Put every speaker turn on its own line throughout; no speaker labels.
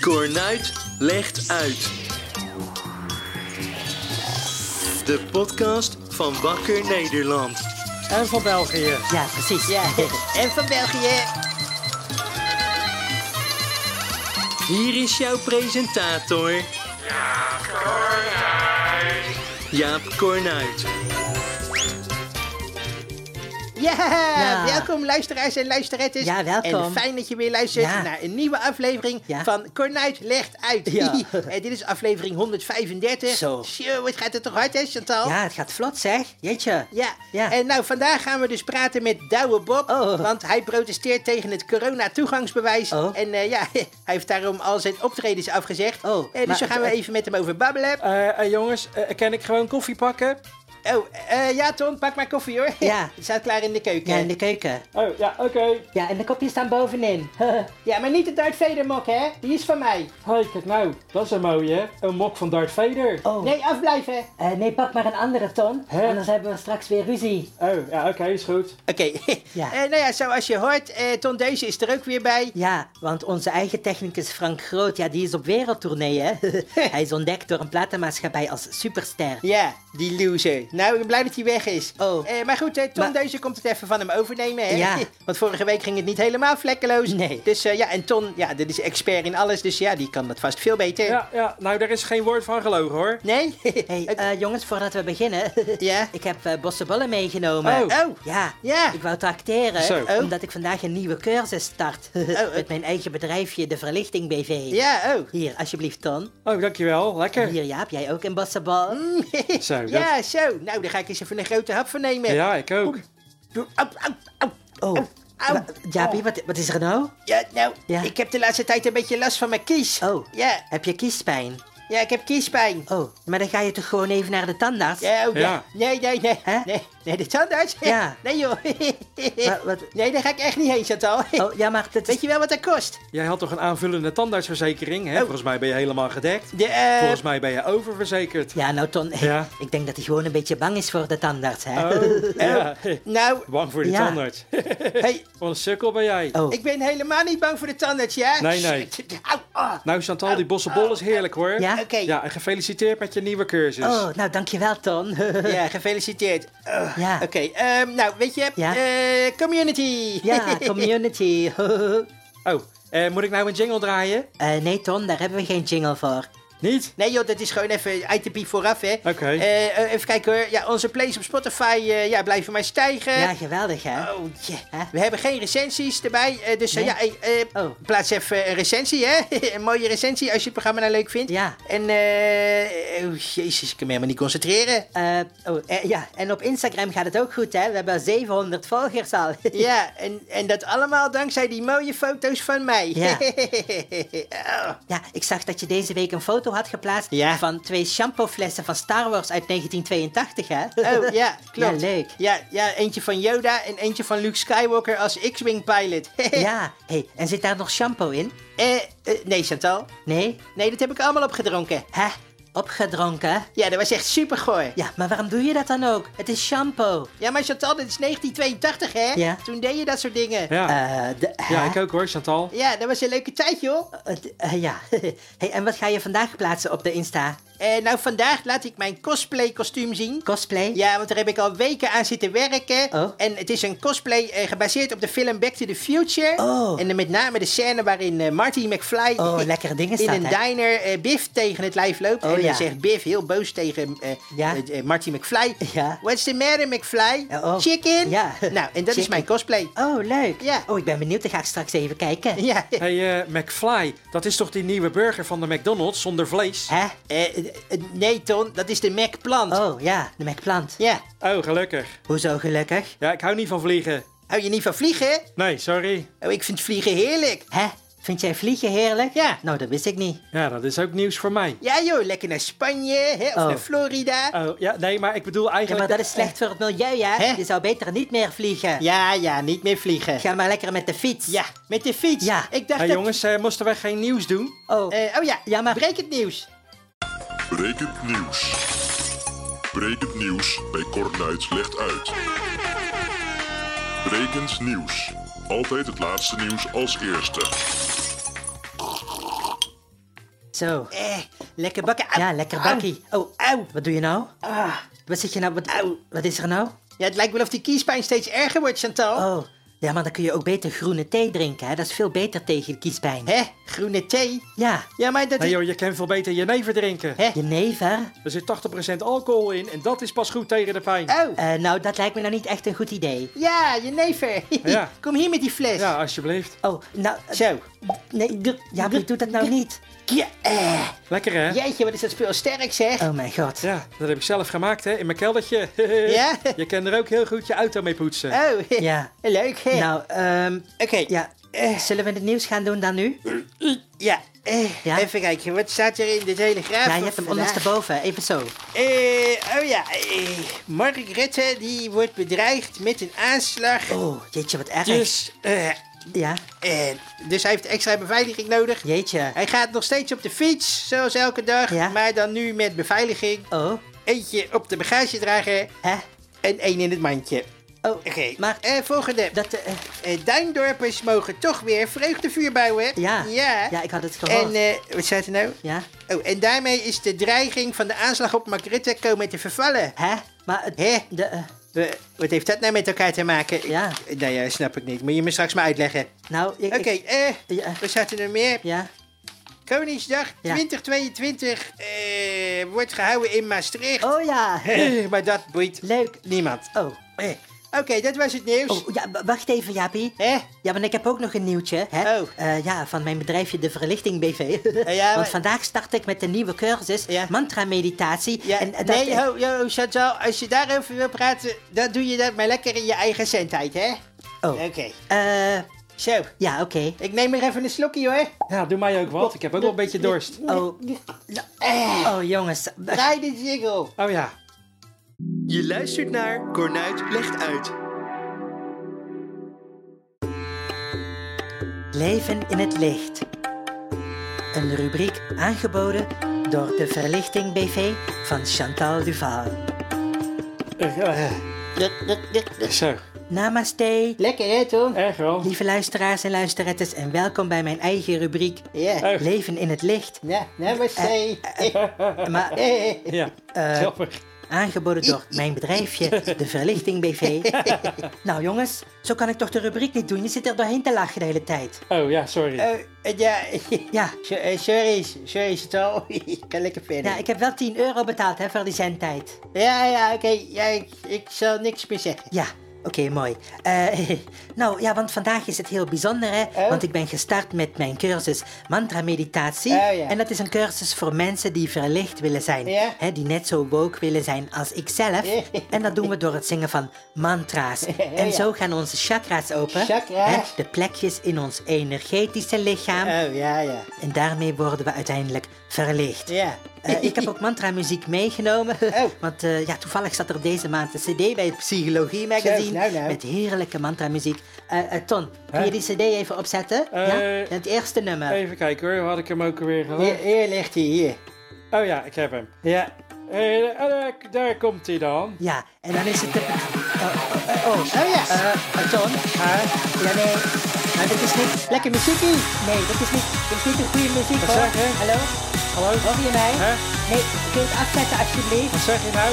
Cornuit legt uit. De podcast van Wakker Nederland.
En van België.
Ja, precies.
Ja, en van België.
Hier is jouw presentator. Jaap Cornuit.
Ja,
Ja.
welkom luisteraars en luisterettes.
Ja, welkom.
En fijn dat je weer luistert
Ja.
naar een nieuwe aflevering
Ja.
van Cornuit Legt Uit.
Ja.
en dit is aflevering 135.
Zo.
het gaat het toch hard hè Chantal?
Ja, het gaat vlot zeg. Jeetje.
Oh. Ja.
Ja.
en nou vandaag gaan we dus praten met Douwe Bob,
Oh.
want hij protesteert tegen het corona-toegangsbewijs.
Oh.
En eh, ja, hij heeft daarom al zijn optredens afgezegd.
Oh,
Eh, dus
maar-
daar gaan we even met hem over babbelen.
Eh, eh, jongens, eh, kan ik gewoon koffie pakken?
Oh, eh, ja Ton, pak maar koffie hoor.
Ja.
Het staat klaar in de keuken.
Ja, in de keuken.
Oh, ja, oké.
Ja, en de kopjes staan bovenin.
Ja, maar niet de Darth Vader mok, hè? Die is van mij.
Hoi, kijk nou. Dat is een mooie, hè? Een mok van Darth Vader.
Oh, nee.
Nee, afblijven. Oké,
Eh, nee, pak maar een andere ton.
Hè?
Anders hebben we straks weer ruzie.
Oh, ja, oké, is goed.
Ja.
Eh, nou ja, zoals je hoort, eh Ton Deuze is er ook weer bij.
Ja, want onze eigen technicus Frank Groot, ja, die is op wereldtournee, hè? hij is ontdekt door een platenmaatschappij als superster.
Ja, die loser. Nou, ik ben blij dat hij weg is.
Oh.
Eh, maar goed, eh, Ton
Maar-
Deuze komt het even van hem overnemen, hè?
Ja.
Want vorige week ging het niet helemaal vlekkeloos.
Nee.
Dus eh, ja, en Ton, ja, dit is expert in alles, dus ja, die kan dat vast veel beter.
Ja, ja, nou, daar is geen woord van gelogen, hoor.
Nee?
Hey,
Oké.
eh, jongens, voordat we beginnen,
Ja?
ik heb eh bossenbollen meegenomen.
Oh.
Oh.
Ja,
Ja.
ik wou tracteren,
Zo.
Oh.
omdat ik vandaag een nieuwe cursus start.
eh.
Met mijn eigen bedrijfje, de Verlichting BV.
Ja, oh.
Hier, alsjeblieft, Ton.
Oh, dankjewel. Lekker.
Hier, Jaap, jij ook een bossenbal?
Mm.
Zo, dat...
Ja, zo. Nou, daar ga ik eens even een grote hap van nemen.
Ja, ik ook.
Doe- Au, au, au.
Oh,
Au. Oh.
wa- Jaapie, wat, wat is er nou?
Ja, nou,
Ja.
ik heb de laatste tijd een beetje last van mijn kies.
Oh.
Ja,
Heb je kiespijn?
ja ik heb kiespijn.
Oh, maar dan ga je toch gewoon even naar de tandarts?
Ja, oh, ja.
Ja.
Nee, nee, nee.
Hè?
Nee, nee, de tandarts?
Ja.
Nee, joh.
Wa- wat?
Nee, daar ga ik echt niet heen, Chantal.
Oh, ja, maar dat is...
Weet je wel wat dat kost?
Jij had toch een aanvullende tandartsverzekering, hè?
Oh.
Volgens mij ben je helemaal gedekt.
De, eh,
Volgens mij ben je oververzekerd.
Ja, nou Ton,
Ja.
ik denk dat hij gewoon een beetje bang is voor de tandarts, hè?
Oh, ja.
Nou,
Bang voor die
Ja.
tandarts.
hey,
Wat een sukkel ben jij.
Oh.
ik ben helemaal niet bang voor de tandarts, ja?
Nee, nee.
Shit. Au, ah.
Nou, Chantal, die bossenbol is heerlijk, hoor.
Ja?
Oké.
Ja, en gefeliciteerd met je nieuwe cursus.
Oh, nou dankjewel, Ton.
Ja, gefeliciteerd. Ugh.
Ja.
Oké, ehm, nou, weet je,
Ja.
eh, community.
Ja, community.
Oh, eh, moet ik nou een jingle draaien?
Eh, nee, Ton, daar hebben we geen jingle voor.
Niet?
Nee joh, dat is gewoon even ITP vooraf, hè.
Oké.
Eh, eh, even kijken hoor. Ja, onze plays op Spotify eh, ja, blijven maar stijgen.
Ja, geweldig, hè?
Oh, yeah.
Hè?
We hebben geen recensies erbij, eh, dus eh,
Nee?
ja, eh, eh,
Oh.
plaats even een recensie, hè? een mooie recensie als je het programma nou leuk vindt.
Ja.
En, eh, oh, jezus, ik kan me helemaal niet concentreren.
Eh, oh, eh, ja, en op Instagram gaat het ook goed, hè? We hebben 700 volgers al.
Ja, en, en dat allemaal dankzij die mooie foto's van mij.
Ja.
Oh.
Ja, ik zag dat je deze week een foto had geplaatst
Ja.
van twee shampooflessen van Star Wars uit 1982, hè?
Oh, ja, klopt.
Ja, leuk.
Ja, ja, eentje van Yoda en eentje van Luke Skywalker als X-Wing pilot.
Ja, hey, en zit daar nog shampoo in?
Eh, eh, nee, Chantal.
Nee?
Nee, dat heb ik allemaal opgedronken.
Hè? Opgedronken?
Ja, dat was echt super goor.
Ja, maar waarom doe je dat dan ook? Het is shampoo.
Ja, maar Chantal, dit is 1982, hè?
Ja.
Toen deed je dat soort dingen.
Ja.
Eh, de,
ja,
hè?
ik ook hoor, Chantal.
Ja, dat was een leuke tijd, joh.
Eh, d- eh, ja. hey, en wat ga je vandaag plaatsen op de Insta?
Eh, nou, vandaag laat ik mijn cosplay-kostuum zien.
Cosplay?
Ja, want daar heb ik al weken aan zitten werken.
Oh.
En het is een cosplay eh, gebaseerd op de film Back to the Future.
Oh.
En dan met name de scène waarin eh, Marty McFly
Oh, lekkere dingen
in
staat,
een
hè?
diner eh, Biff tegen het lijf loopt.
Oh,
en dan
ja.
zegt Biff heel boos tegen eh,
Ja.
eh, eh, Marty McFly.
Ja.
What's the matter, McFly?
Ja, oh.
Chicken?
Ja.
Nou, en dat is
Chicken.
mijn cosplay.
Oh, leuk.
Ja.
Oh, ik ben benieuwd. Dan ga ik straks even kijken.
Ja.
Hé, hey, eh, McFly, dat is toch die nieuwe burger van de McDonald's zonder vlees?
Hè?
Eh, eh, eh, nee, Ton, dat is de Mac-plant.
Oh, ja. De McPlant.
Ja.
Oh, gelukkig.
Hoezo gelukkig?
Ja, ik hou niet van vliegen.
Hou je niet van vliegen?
Nee, sorry.
Oh, ik vind vliegen heerlijk.
Hè? Vind jij vliegen heerlijk?
Ja.
Nou, dat wist ik niet.
Ja, dat is ook nieuws voor mij.
Ja joh, lekker naar Spanje hè, of
Oh.
naar Florida.
Oh, ja, nee, maar ik bedoel
Ja,
eigenlijk...
maar dat is slecht voor het milieu, hè?
Hè?
Je zou beter niet meer vliegen.
Ja, ja, niet meer vliegen.
Ga maar lekker met de fiets.
Ja, met de fiets.
Ja.
Ik dacht
Hé,
dat...
jongens, eh, moesten wij geen nieuws doen?
Oh,
Eh, oh ja,
Ja, maar-
breek het nieuws.
Brekend nieuws. Brekend nieuws bij Kornuit legt uit. Brekend nieuws. Altijd het laatste nieuws als eerste.
Zo.
Eh,
Lekker bakken. Ja, lekker bakkie. Oh,
Auw.
wat doe je nou?
Ah.
Wat zit je nou? Wat,
Auw.
wat is er nou?
Ja, het lijkt wel of die kiespijn steeds erger wordt, Chantal.
Oh, ja, maar dan kun je ook beter groene thee drinken, hè? Dat is veel beter tegen de kiespijn.
Hè? Groene thee?
Ja,
Ja, maar dat
Nee
is...
joh, Oh, je kan veel beter jenever drinken.
Hè?
jenever?
Er zit 80% alcohol in en dat is pas goed tegen de pijn.
Oh,
Eh nou, dat lijkt me nou niet echt een goed idee.
ja, jenever.
Ja.
Kom hier met die fles.
Ja, alsjeblieft.
Oh, nou, eh,
Zo.
nee, ja, maar doe dat nou niet.
Ja, eh.
Lekker hè?
Jeetje, wat is dat spul sterk, zeg.
Oh mijn god.
Ja, dat heb ik zelf gemaakt hè, in mijn keldertje.
Ja?
Je kan er ook heel goed je auto mee poetsen.
Oh,
Ja.
leuk, hè?
Nou, ehm,
Oké,
ja,
Eh.
zullen we het nieuws gaan doen dan nu?
ja. eh,
Ja?
Even kijken, wat staat er in de Telegraaf?
Ja, je hebt hem
vandaag?
ondersteboven, even zo.
Eh, oh ja, eh, Mark Rutte die wordt bedreigd met een aanslag.
Oh, jeetje, wat erg.
Dus, eh,
Ja,
eh, dus hij heeft extra beveiliging nodig.
jeetje.
Hij gaat nog steeds op de fiets, zoals elke dag.
Ja.
Maar dan nu met beveiliging.
Oh,
Eentje op de bagagedrager
hè?
en één in het mandje.
Oh,
Oké,
maar
eh, volgende.
dat... eh,
Eh, Duindorpers mogen toch weer vreugdevuur bouwen.
ja.
Ja.
ja, ik had het gehoord.
en eh, wat zei het nou?
ja,
Oh, en daarmee is de dreiging van de aanslag op Mark Rutte komen te vervallen.
hè? Maar het...
Hè?
De, eh,
Eh, wat heeft dat nou met elkaar te maken?
Ja.
Eh, nou ja, snap ik niet. Moet je me straks maar uitleggen.
nou, ik...
Oké,
ik-
eh,
Ja.
wat staat er nog meer?
ja,
Koningsdag
Ja.
2022 eh, wordt gehouden in Maastricht.
oh ja.
Eh, maar dat boeit
Leuk.
niemand.
Oh.
Eh, Oké, dat was het nieuws.
Oh, ja, w- wacht even, Jaapie.
Hè?
Ja, maar ik heb ook nog een nieuwtje. Hè?
Oh.
Eh, ja, van mijn bedrijfje De Verlichting BV.
ja, maar-
Want vandaag start ik met een nieuwe cursus,
Ja.
mantra-meditatie.
Ja,
en, eh, dat-
nee, ho, ho, Chantal, als je daarover wil praten, dan doe je dat maar lekker in je eigen zendtijd, hè?
Oh.
Oké,
Eh,
zo.
ja, oké.
Ik neem er even een slokje, hoor.
Ja, doe mij ook wat. Ik heb ook wel een beetje dorst.
Oh. oh, jongens.
Draai de jingle.
Oh ja.
Je luistert naar Cornuit legt uit.
Leven in het licht. Een rubriek aangeboden door De Verlichting BV van Chantal Duval.
Eh, eh, Zo.
Namaste.
Lekker, hè,
Eh.
Tom?
Erg wel.
Lieve luisteraars en luisterettes en welkom bij mijn eigen rubriek
Ja.
Echt?
Leven in het licht.
Nou, namaste.
Maar
Eh,
Ja, grappig.
Aangeboden door mijn bedrijfje, de Verlichting BV. nou jongens, zo kan ik toch de rubriek niet doen? Je zit er doorheen te lachen de hele tijd.
Oh ja, sorry.
eh, eh, ja.
Ja,
So- eh, Sorry, sorry, Chantal. Ik ga lekker verder.
ja nou, ik heb wel 10 euro betaald hè, voor die zendtijd.
Ja, ja, oké. Ja, ik, ik zal niks meer zeggen.
Ja, oké, mooi. Eh, nou ja, want vandaag is het heel bijzonder hè.
Oh.
Want ik ben gestart met mijn cursus Mantra Meditatie.
Oh, ja.
En dat is een cursus voor mensen die verlicht willen zijn.
Ja.
Hè, die net zo woke willen zijn als ikzelf. en dat doen we door het zingen van mantra's. En
ja.
zo gaan onze chakra's open.
Chakra's.
Hè, de plekjes in ons energetische lichaam.
Oh, ja, ja.
En daarmee worden we uiteindelijk verlicht.
Ja.
Eh, ik heb ook mantra-muziek meegenomen.
Oh.
Want eh, ja, toevallig zat er deze maand een CD bij het Psychologie Magazine.
Zo, nou, nou.
Met heerlijke mantra-muziek. Eh, eh, Ton, kun je die CD even opzetten? ja?
Eh.
Het eerste nummer.
Even kijken hoor, had ik hem ook alweer gehad?
eh, Hier, hier ligt hij, hier.
Oh ja, ik heb hem.
Ja.
Eh, eh, daar- daar komt hij dan.
Ja, en dan is het de. Oh, oh, eh, oh.
Oh, ja.
Eh, eh, Ton? Ja, nee. Maar dit is niet.
Lekker muziekie.
Nee, dit is niet, dit is niet de goede muziek
Wat
hoor.
zeg je?
Hallo?
Hallo?
Hoor je mij?
Hè?
Nee, kun je het afzetten alsjeblieft?
Wat zeg je nou?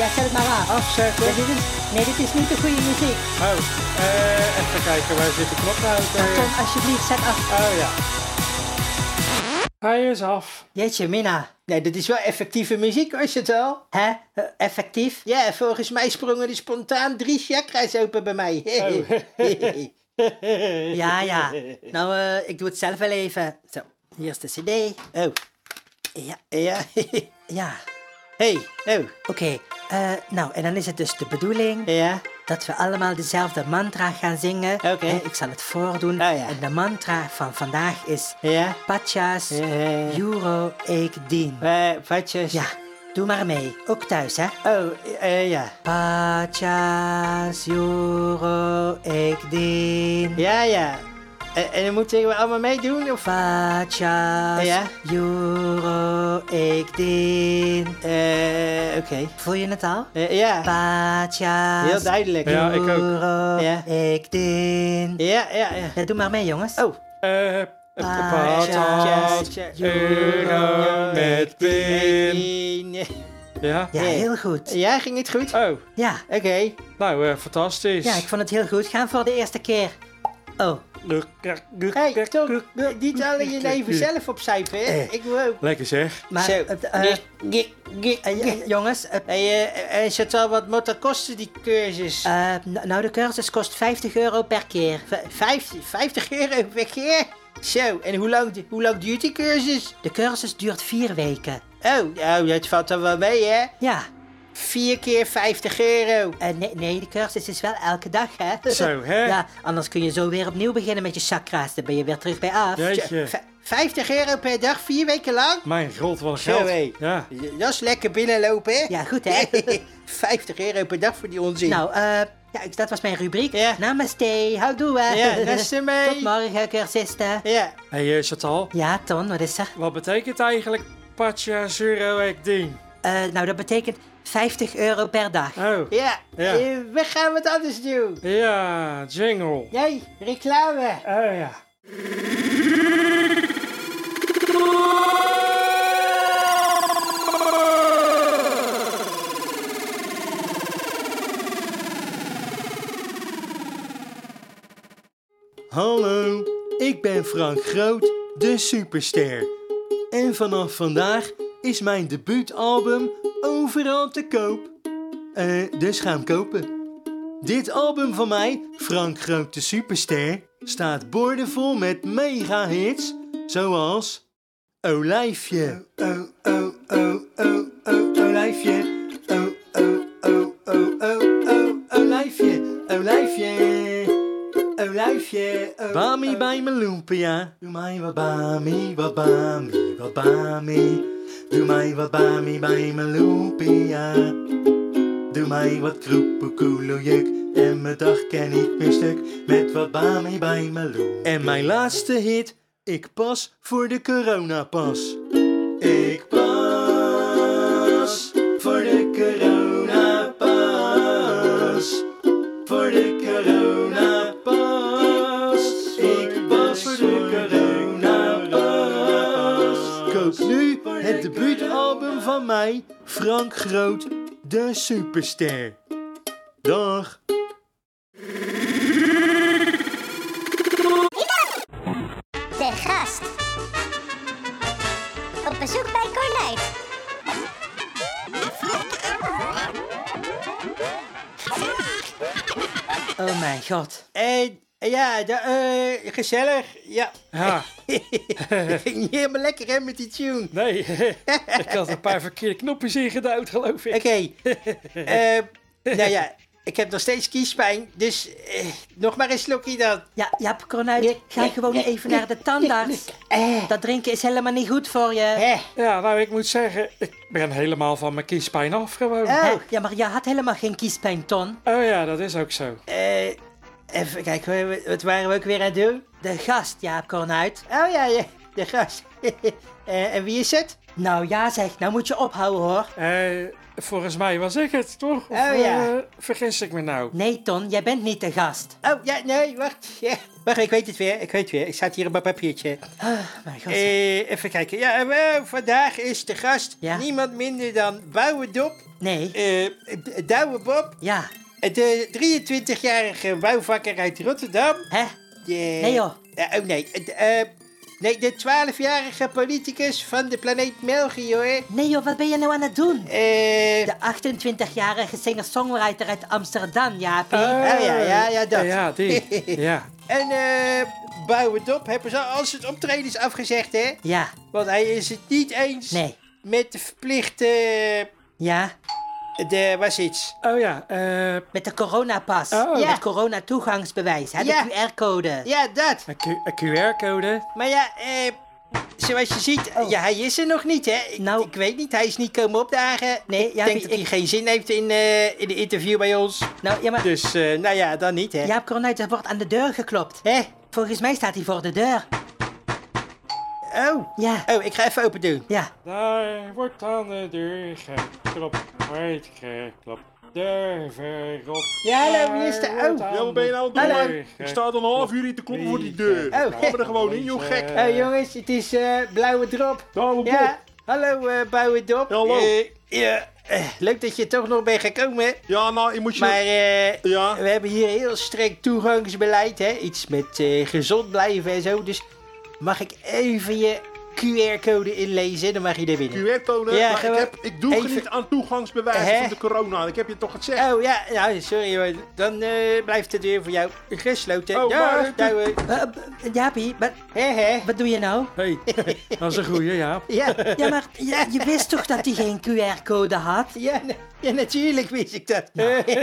Ja, zet het maar af.
Oh,
Afzetten?
Ja, dit is, nee, dit is niet de goede muziek.
Oh, eh, even kijken, waar zit de knop nou? ook
Maar
weer?
Tom, alsjeblieft, zet af.
Oh ja. Hij is af.
Jeetje, Mina.
Nou, dat is wel effectieve muziek, hoor, Chantal.
Hè? Eh, Effectief?
Ja, volgens mij sprongen er spontaan drie chakra's open bij mij.
Ja, ja. Nou, eh, ik doe het zelf wel even. Zo, hier is de cd.
oh,
Ja,
ja.
ja.
hey, oh,
Oké, eh, nou, en dan is het dus de bedoeling
ja.
dat we allemaal dezelfde mantra gaan zingen.
Oké.
Eh, ik zal het voordoen.
Ah, ja.
En de mantra van vandaag is...
Ja.
Pachas,
Eh.
euro, ik dien.
Eh, Patjes.
Ja, doe maar mee. Ook thuis, hè.
Oh, eh, ja.
Pachas, euro, ik dien.
Ja, ja. Eh, En, en dan moeten we allemaal meedoen, of?
Pacha's,
Ja?
euro, ik dien.
Eh, oké.
Voel je het al?
Eh, ja.
Pacha's,
Heel duidelijk.
Ja. ik ook.
euro,
Ja.
ik dien.
Ja, ja, ja.
Ja, doe maar mee, jongens.
Oh,
Eh, Een
Ah,
patat,
tja, tja.
euro met pin.
Nee.
Ja?
Ja,
Nee.
heel goed.
Ja, ging het goed?
Oh,
Ja.
Oké.
nou, eh, fantastisch.
ja, ik vond het heel goed gaan voor de eerste keer. Oh,
Hey, Tom, niet alleen je leven zelf opcijferen. hè? Ik wil ook.
Lekker zeg.
Eh. maar...
Zo.
eh, eh,
Gik, gik, gik,
eh,
gik.
eh, jongens, eh,
Hey, eh, eh, Chantal, wat moet dat kosten, die cursus?
eh, n- nou de cursus kost 50 euro per keer.
V- 50, 50 euro per keer? Zo, en hoe lang, du- hoe lang duurt die cursus?
De cursus duurt vier weken.
Oh, nou, dat valt dan wel mee, hè?
Ja,
4 keer 50 euro.
eh, nee, nee, de cursus is wel elke dag, hè?
Zo, hè?
Ja, anders kun je zo weer opnieuw beginnen met je chakra's. Dan ben je weer terug bij af.
Jeetje.
V- 50 euro per dag, 4 weken lang?
Mijn god, wat een
Zo, hé.
geld. Ja.
Dat is lekker binnenlopen, hè?
Ja, goed, hè?
50 euro per dag voor die onzin.
Nou, eh, ja, ik- dat was mijn rubriek.
Ja.
Namaste, houdoe. hè.
Ja, namaste, mei.
Tot morgen, cursisten.
Ja,
Hé, eh, Chantal,
Ja, Ton, wat is er?
wat betekent eigenlijk Pacha Zero Ek Ding?
Eh, nou, dat betekent 50 euro per dag.
Oh,
ja.
Ja.
Eh, we gaan wat anders doen.
ja, jingle.
Nee, reclame.
Oh ja.
Hallo, ik ben Frank Groot, de superster. En vanaf vandaag is mijn debuutalbum overal te koop. Eh, dus ga hem kopen. Dit album van mij, Frank Groot de Superster, staat boordevol met mega-hits zoals... Olijfje. Oh, oh, oh, oh, oh, olijfje. Oh, oh, oh, oh, oh, oh, olijfje. Olijfje. Olijfje, oh, Bami bij mijn lumpia. Doe mij wat bami, wat bami, wat bami. Doe mij wat bami bij mijn lumpia. Doe mij wat kroepoekoelojuk. En mijn dag ken ik meer stuk. Met wat bami bij mijn lumpia. En mijn laatste hit. Ik pas voor de coronapas. Ik pas voor de coronapas. Voor de coronapas. Ik pas voor de coronapas. Koop nu het debuutalbum van mij, Frank Groot, de superster. Dag.
De gast. Op bezoek bij Cornijt.
Oh mijn god.
En ja, de, eh, gezellig. Ja.
Ja,
ging niet helemaal lekker hè met die tune.
nee. ik had een paar verkeerde knopjes ingeduwd, geloof ik.
Oké. eh, nou ja, ik heb nog steeds kiespijn, dus eh, nog maar een slokje dan.
Ja, Jaap Cornuit, ga gewoon even naar de tandarts.
Eh,
Dat drinken is helemaal niet goed voor je.
eh,
Ja, nou, ik moet zeggen, ik ben helemaal van mijn kiespijn af gewoon.
Eh.
Ja, maar je had helemaal geen kiespijn, Ton.
Oh ja, dat is ook zo.
eh, even kijken, wat- wat waren we ook weer aan het doen?
De gast, Jaap Cornuit.
Oh ja, ja de gast. Eh, en wie is het?
Nou ja zeg, nou moet je ophouden hoor.
Eh, volgens mij was ik het, toch? Of,
Oh ja.
eh, vergis ik me nou?
Nee, Ton, jij bent niet de gast.
Oh, ja, nee, wacht. Ja. Wacht, ik weet het weer, ik weet het weer. Ik staat hier op mijn papiertje.
Ah, mijn god.
Eh, even kijken. Ja, en, eh, vandaag is de gast
Ja.
niemand minder dan Bouwendop,
Nee.
eh Douwe Bob,
Ja.
de 23-jarige bouwvakker uit Rotterdam.
Hè?
De-
Nee, joh.
Eh, oh nee, Eh, de, eh, nee, de 12-jarige politicus van de planeet Melchior.
Nee joh, wat ben je nou aan het doen?
Eh,
De 28-jarige singer-songwriter uit Amsterdam, Jaapie.
Ah, ja, ja, ja, dat.
Ja, die. ja.
en eh, Bouwendop hebben ze al zijn optredens afgezegd, hè?
Ja.
Want hij is het niet eens
Nee.
met de verplichte...
Ja.
De, was iets.
Oh ja, eh...
Met de coronapas.
Oh.
Ja.
Het coronatoegangsbewijs, hè? De
Ja.
QR-code.
Ja, dat.
Een, Q- een QR-code?
Maar ja, eh, zoals je ziet, ja, hij is er nog niet, hè? Ik,
Oh. Nou.
ik weet niet, hij is niet komen opdagen.
Nee,
ik
ja,
denk
wie-
dat hij
ik-
geen zin heeft in, eh in de interview bij ons.
Nou, ja, maar
Dus, eh, nou ja, dan niet, hè?
Jaap Cornuit, er wordt aan de deur geklopt.
Hè?
Volgens mij staat hij voor de deur.
Oh.
Ja.
Oh, ik ga even open doen.
Ja,
Daar wordt aan de deur geklopt. Hard geklopt. Deur verrot.
Ja, hallo,
Daar
wie is daar?
wordt
Oh.
aan
Ja, wat ben je nou aan het
de
doen?
deur
Ik sta al een half uur hier te kloppen voor die deur.
Oh.
Ga maar er gewoon in, joh, gek.
Oh, jongens, het is eh, blauwe drop.
Daarom
Ja.
op.
Hallo, eh blauwe drop.
Hallo.
Eh, ja. eh, leuk dat je toch nog bent gekomen.
Ja, nou, ik moet je...
Maar eh,
Ja.
we hebben hier heel streng toegangsbeleid, hè? Iets met eh, gezond blijven en zo. Dus mag ik even je QR-code inlezen? Dan mag je er binnen.
QR-code,
Ja,
maar ik,
gewoon-
heb, ik doe
even-
niet aan toegangsbewijzen
Hè?
van de corona. Ik heb je toch gezegd?
Oh ja, nou, sorry hoor. Dan eh, blijft de deur voor jou gesloten.
Oh, maar
ja,
het-
nou, eh,
Eh, eh, Jaapie, wat,
hè, hè.
wat doe je nou?
Hé, dat is een goeie, ja.
Ja,
Ja, maar je, je wist toch dat hij geen QR-code had?
ja, na- ja, natuurlijk wist ik dat.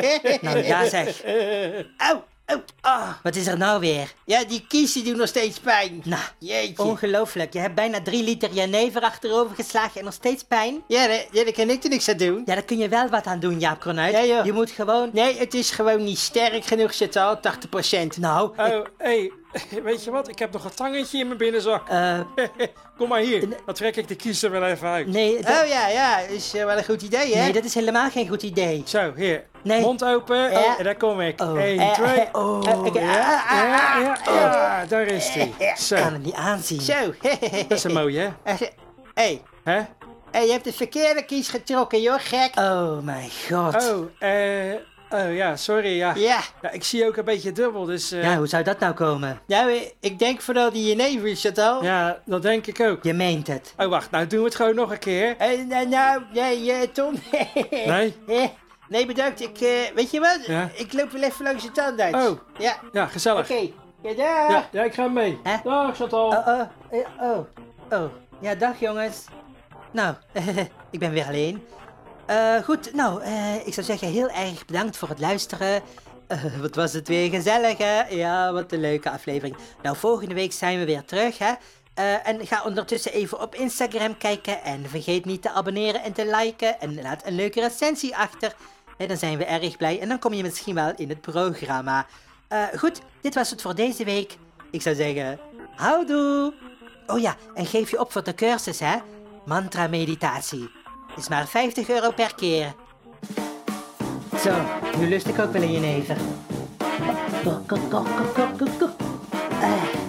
Nou ja zeg,
Au, au, Oh, ah.
wat is er nou weer?
Ja, die kiezen doen nog steeds pijn.
Nou,
Jeetje.
ongelooflijk. Je hebt bijna drie liter jenever achterover geslagen en nog steeds pijn.
Ja, daar, ja, daar kan ik er niks aan doen.
Ja, daar kun je wel wat aan doen, Jaap Kronuit.
Ja, joh.
Je moet gewoon...
Nee, het is gewoon niet sterk genoeg, zit al 80%.
Nou, eh,
Oh, hé, weet je wat? Ik heb nog een tangetje in mijn binnenzak.
eh,
Kom maar hier, dan trek ik de kiezer wel even uit.
nee, dat-
Oh ja, ja, is eh, wel een goed idee, hè?
nee, dat is helemaal geen goed idee.
Zo, hier.
Nee.
Mond open.
Ja.
Oh, en daar kom ik.
Oh.
Eén,
Eh,
twee.
eh, oh,
Eh, ik-
ik
ah, ah, ah.
Ja, ja, ja, daar is hij. Zo,
kan het niet aanzien.
eh, Zo.
dat is een mooie, hè?
Hé, hey,
Hè?
hey, je hebt de verkeerde kies getrokken, joh, gek.
Oh mijn god.
Oh, eh... Oh ja, sorry, ja.
Ja,
Ja, Ik zie ook een beetje dubbel, dus... eh,
Ja, hoe zou dat nou komen?
nou, eh, ik denk vooral die jenever, zit al.
ja, dat denk ik ook.
Je meent het.
Oh, wacht, nou doen we het gewoon nog een keer.
Eh, nou, nou, nee, eh, Tom.
Nee?
Eh, nee, bedankt. Ik, eh, weet je wat?
Ja.
Ik loop wel even langs de tandarts.
Oh.
Ja,
Ja, gezellig.
oké. Ja, dag.
Ja, ja, ik ga mee.
Hè?
Dag, Chantal.
Oh, oh, eh, oh, oh. Ja, dag jongens. Nou, ik ben weer alleen. Eh, goed, nou, eh, ik zou zeggen heel erg bedankt voor het luisteren. Eh, wat was het weer gezellig, hè? Ja, wat een leuke aflevering. Nou, volgende week zijn we weer terug, hè? Eh, en ga ondertussen even op Instagram kijken. En vergeet niet te abonneren en te liken. En laat een leuke recensie achter. Hè, dan zijn we erg blij. En dan kom je misschien wel in het programma. Eh, goed, dit was het voor deze week. Ik zou zeggen, houdoe! Oh ja, en geef je op voor de cursus, hè? Mantra-meditatie. Is maar 50 euro per keer. Zo, nu lust ik ook wel in je never. Kok, kok, kok, kok, kok, kok, kok. Eh.